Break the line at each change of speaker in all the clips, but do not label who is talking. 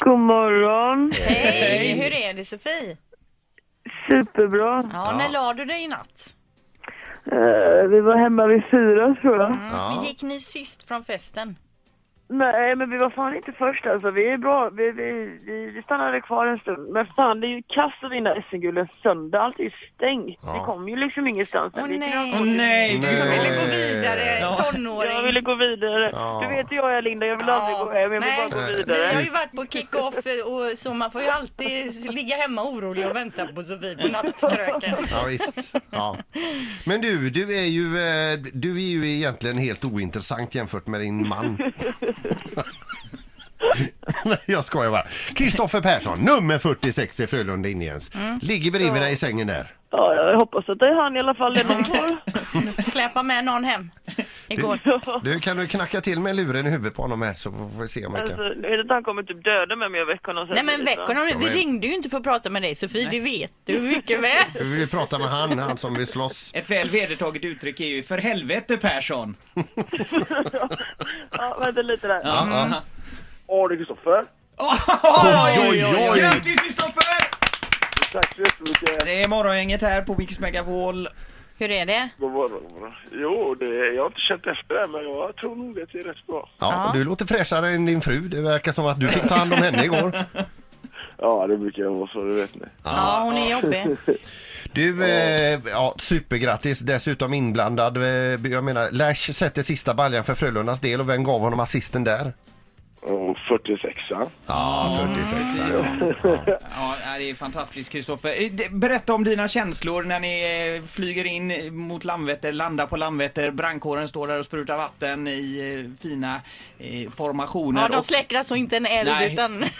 God morgon.
Hej! Hur är det Sofie?
Superbra.
Ja, när la du dig i natt?
Eh, vi var hemma vid fyra tror jag.
Vi Gick ni sist från festen?
Nej, men vi var fan inte först alltså. Vi är bra. Vi, vi, vi, vi stannade kvar en stund. Men fan, det är ju kass att vinna SM-guld en söndag. Allt är ju stängt. Vi kom ju liksom ingenstans.
Åh
Vi kunde ha-
nej!
Åh nej, du
Som
som
ville gå vidare, tonåring.
Jag ville gå vidare. Du vet hur jag är Linda, jag vill aldrig gå hem. Jag vill
Nej,
bara gå
Vi har ju
vidare.
varit på kick-off och så man får ju alltid ligga hemma orolig och vänta på Sofie på nattkröken.
Ja, visst. Ja. Men du, du är, ju, eh, du är ju egentligen helt ointressant jämfört med din man. Nej, jag skojar bara. Kristoffer Persson, nummer 46 i Frölunda Indians. Ligger bredvid dig i sängen där.
Ja, jag hoppas att det är han i alla fall. Det är någon kvar.
Släpa med någon hem igår.
Du, kan du knacka till med luren i huvudet på honom här så får vi se om jag
Alltså,
kan.
jag vet inte, han kommer typ döda mig om jag väcker honom. sen.
Nej men väck honom nu. Vi
men-
ringde ju inte för att prata med dig Sofie, det vet du mycket väl.
Du vill ju prata med han, han som vill slåss.
Ett väl vedertaget uttryck är ju för helvete Persson.
Ja, vänta lite där.
Ja.
Ja, det är Kristoffer.
Oj, oj, oj!
Grattis Kristoffer!
Tack så jättemycket.
Det är morgongänget här på Mix Megapol.
Hur är det?
God morgon. god morgon. Jo, det, jag har inte känt efter det, men jag tror nog att det är rätt bra.
Ja, du låter fräschare än din fru. Det verkar som att du fick ta hand om henne igår.
Ja, det brukar jag vara så, det vet ni.
Ja hon är jobbig.
Du, eh, ja, supergrattis. Dessutom inblandad. Eh, jag menar, Lash sätter sista baljan för Frölundas del och vem gav honom assisten där?
Och 46 ja.
Ja, 46 alltså.
Ja, det är fantastiskt Kristoffer. Eh, det- Berätta om dina känslor när ni eh, flyger in mot Landvetter, landar på Landvetter, brandkåren står där och sprutar vatten i eh, fina eh, formationer.
Ja de
Och-
släcker alltså inte en eld
Nej.
utan
Nej.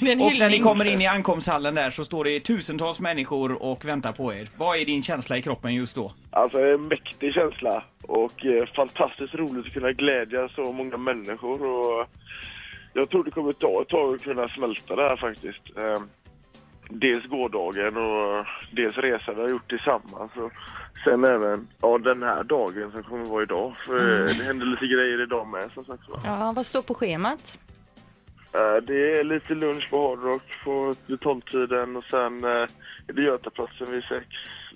det är en
Och när ni
hyllning.
kommer in i ankomsthallen där så står det tusentals människor och väntar på er. Vad är din känsla i kroppen just då?
Alltså, det är en mäktig känsla och eh, fantastiskt roligt att kunna glädja så många människor. Och jag tror det kommer ta ett tag att kunna smälta det här faktiskt. Eh, dels gårdagen och dels resan vi har gjort tillsammans. Och sen även ja, den här dagen som kommer vara idag. För eh, det händer lite grejer idag med som sagt. va.
Ja vad står på schemat?
Eh, Det är lite lunch på Hard Rock på, vid tolvtiden och sen eh, är det Götaplatsen vid sex.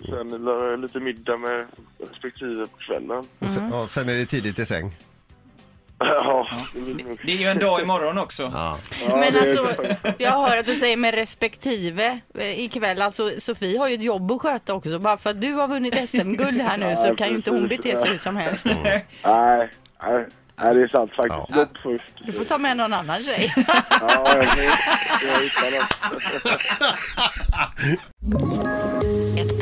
Sen är det lite middag med respektive på kvällen.
Och sen, och sen är det tidigt i säng.
Ja, det blir nog-
Det är ju en dag imorgon också.
Ja.
ja,
Men
det är-
alltså jag hör att du säger med respektive eh, ikväll. Alltså Sofie har ju ett jobb att sköta också. Bara för att du har vunnit SM-guld här nu så
Ja,
kan ju inte hon
precis.
bete sig hur som helst.
Nej, nej, nej, det är sant
Ja.
faktiskt. Jobb först.
Du får ta med någon annan tjej.
Ja, jag vet. Jag hittar något.
Ett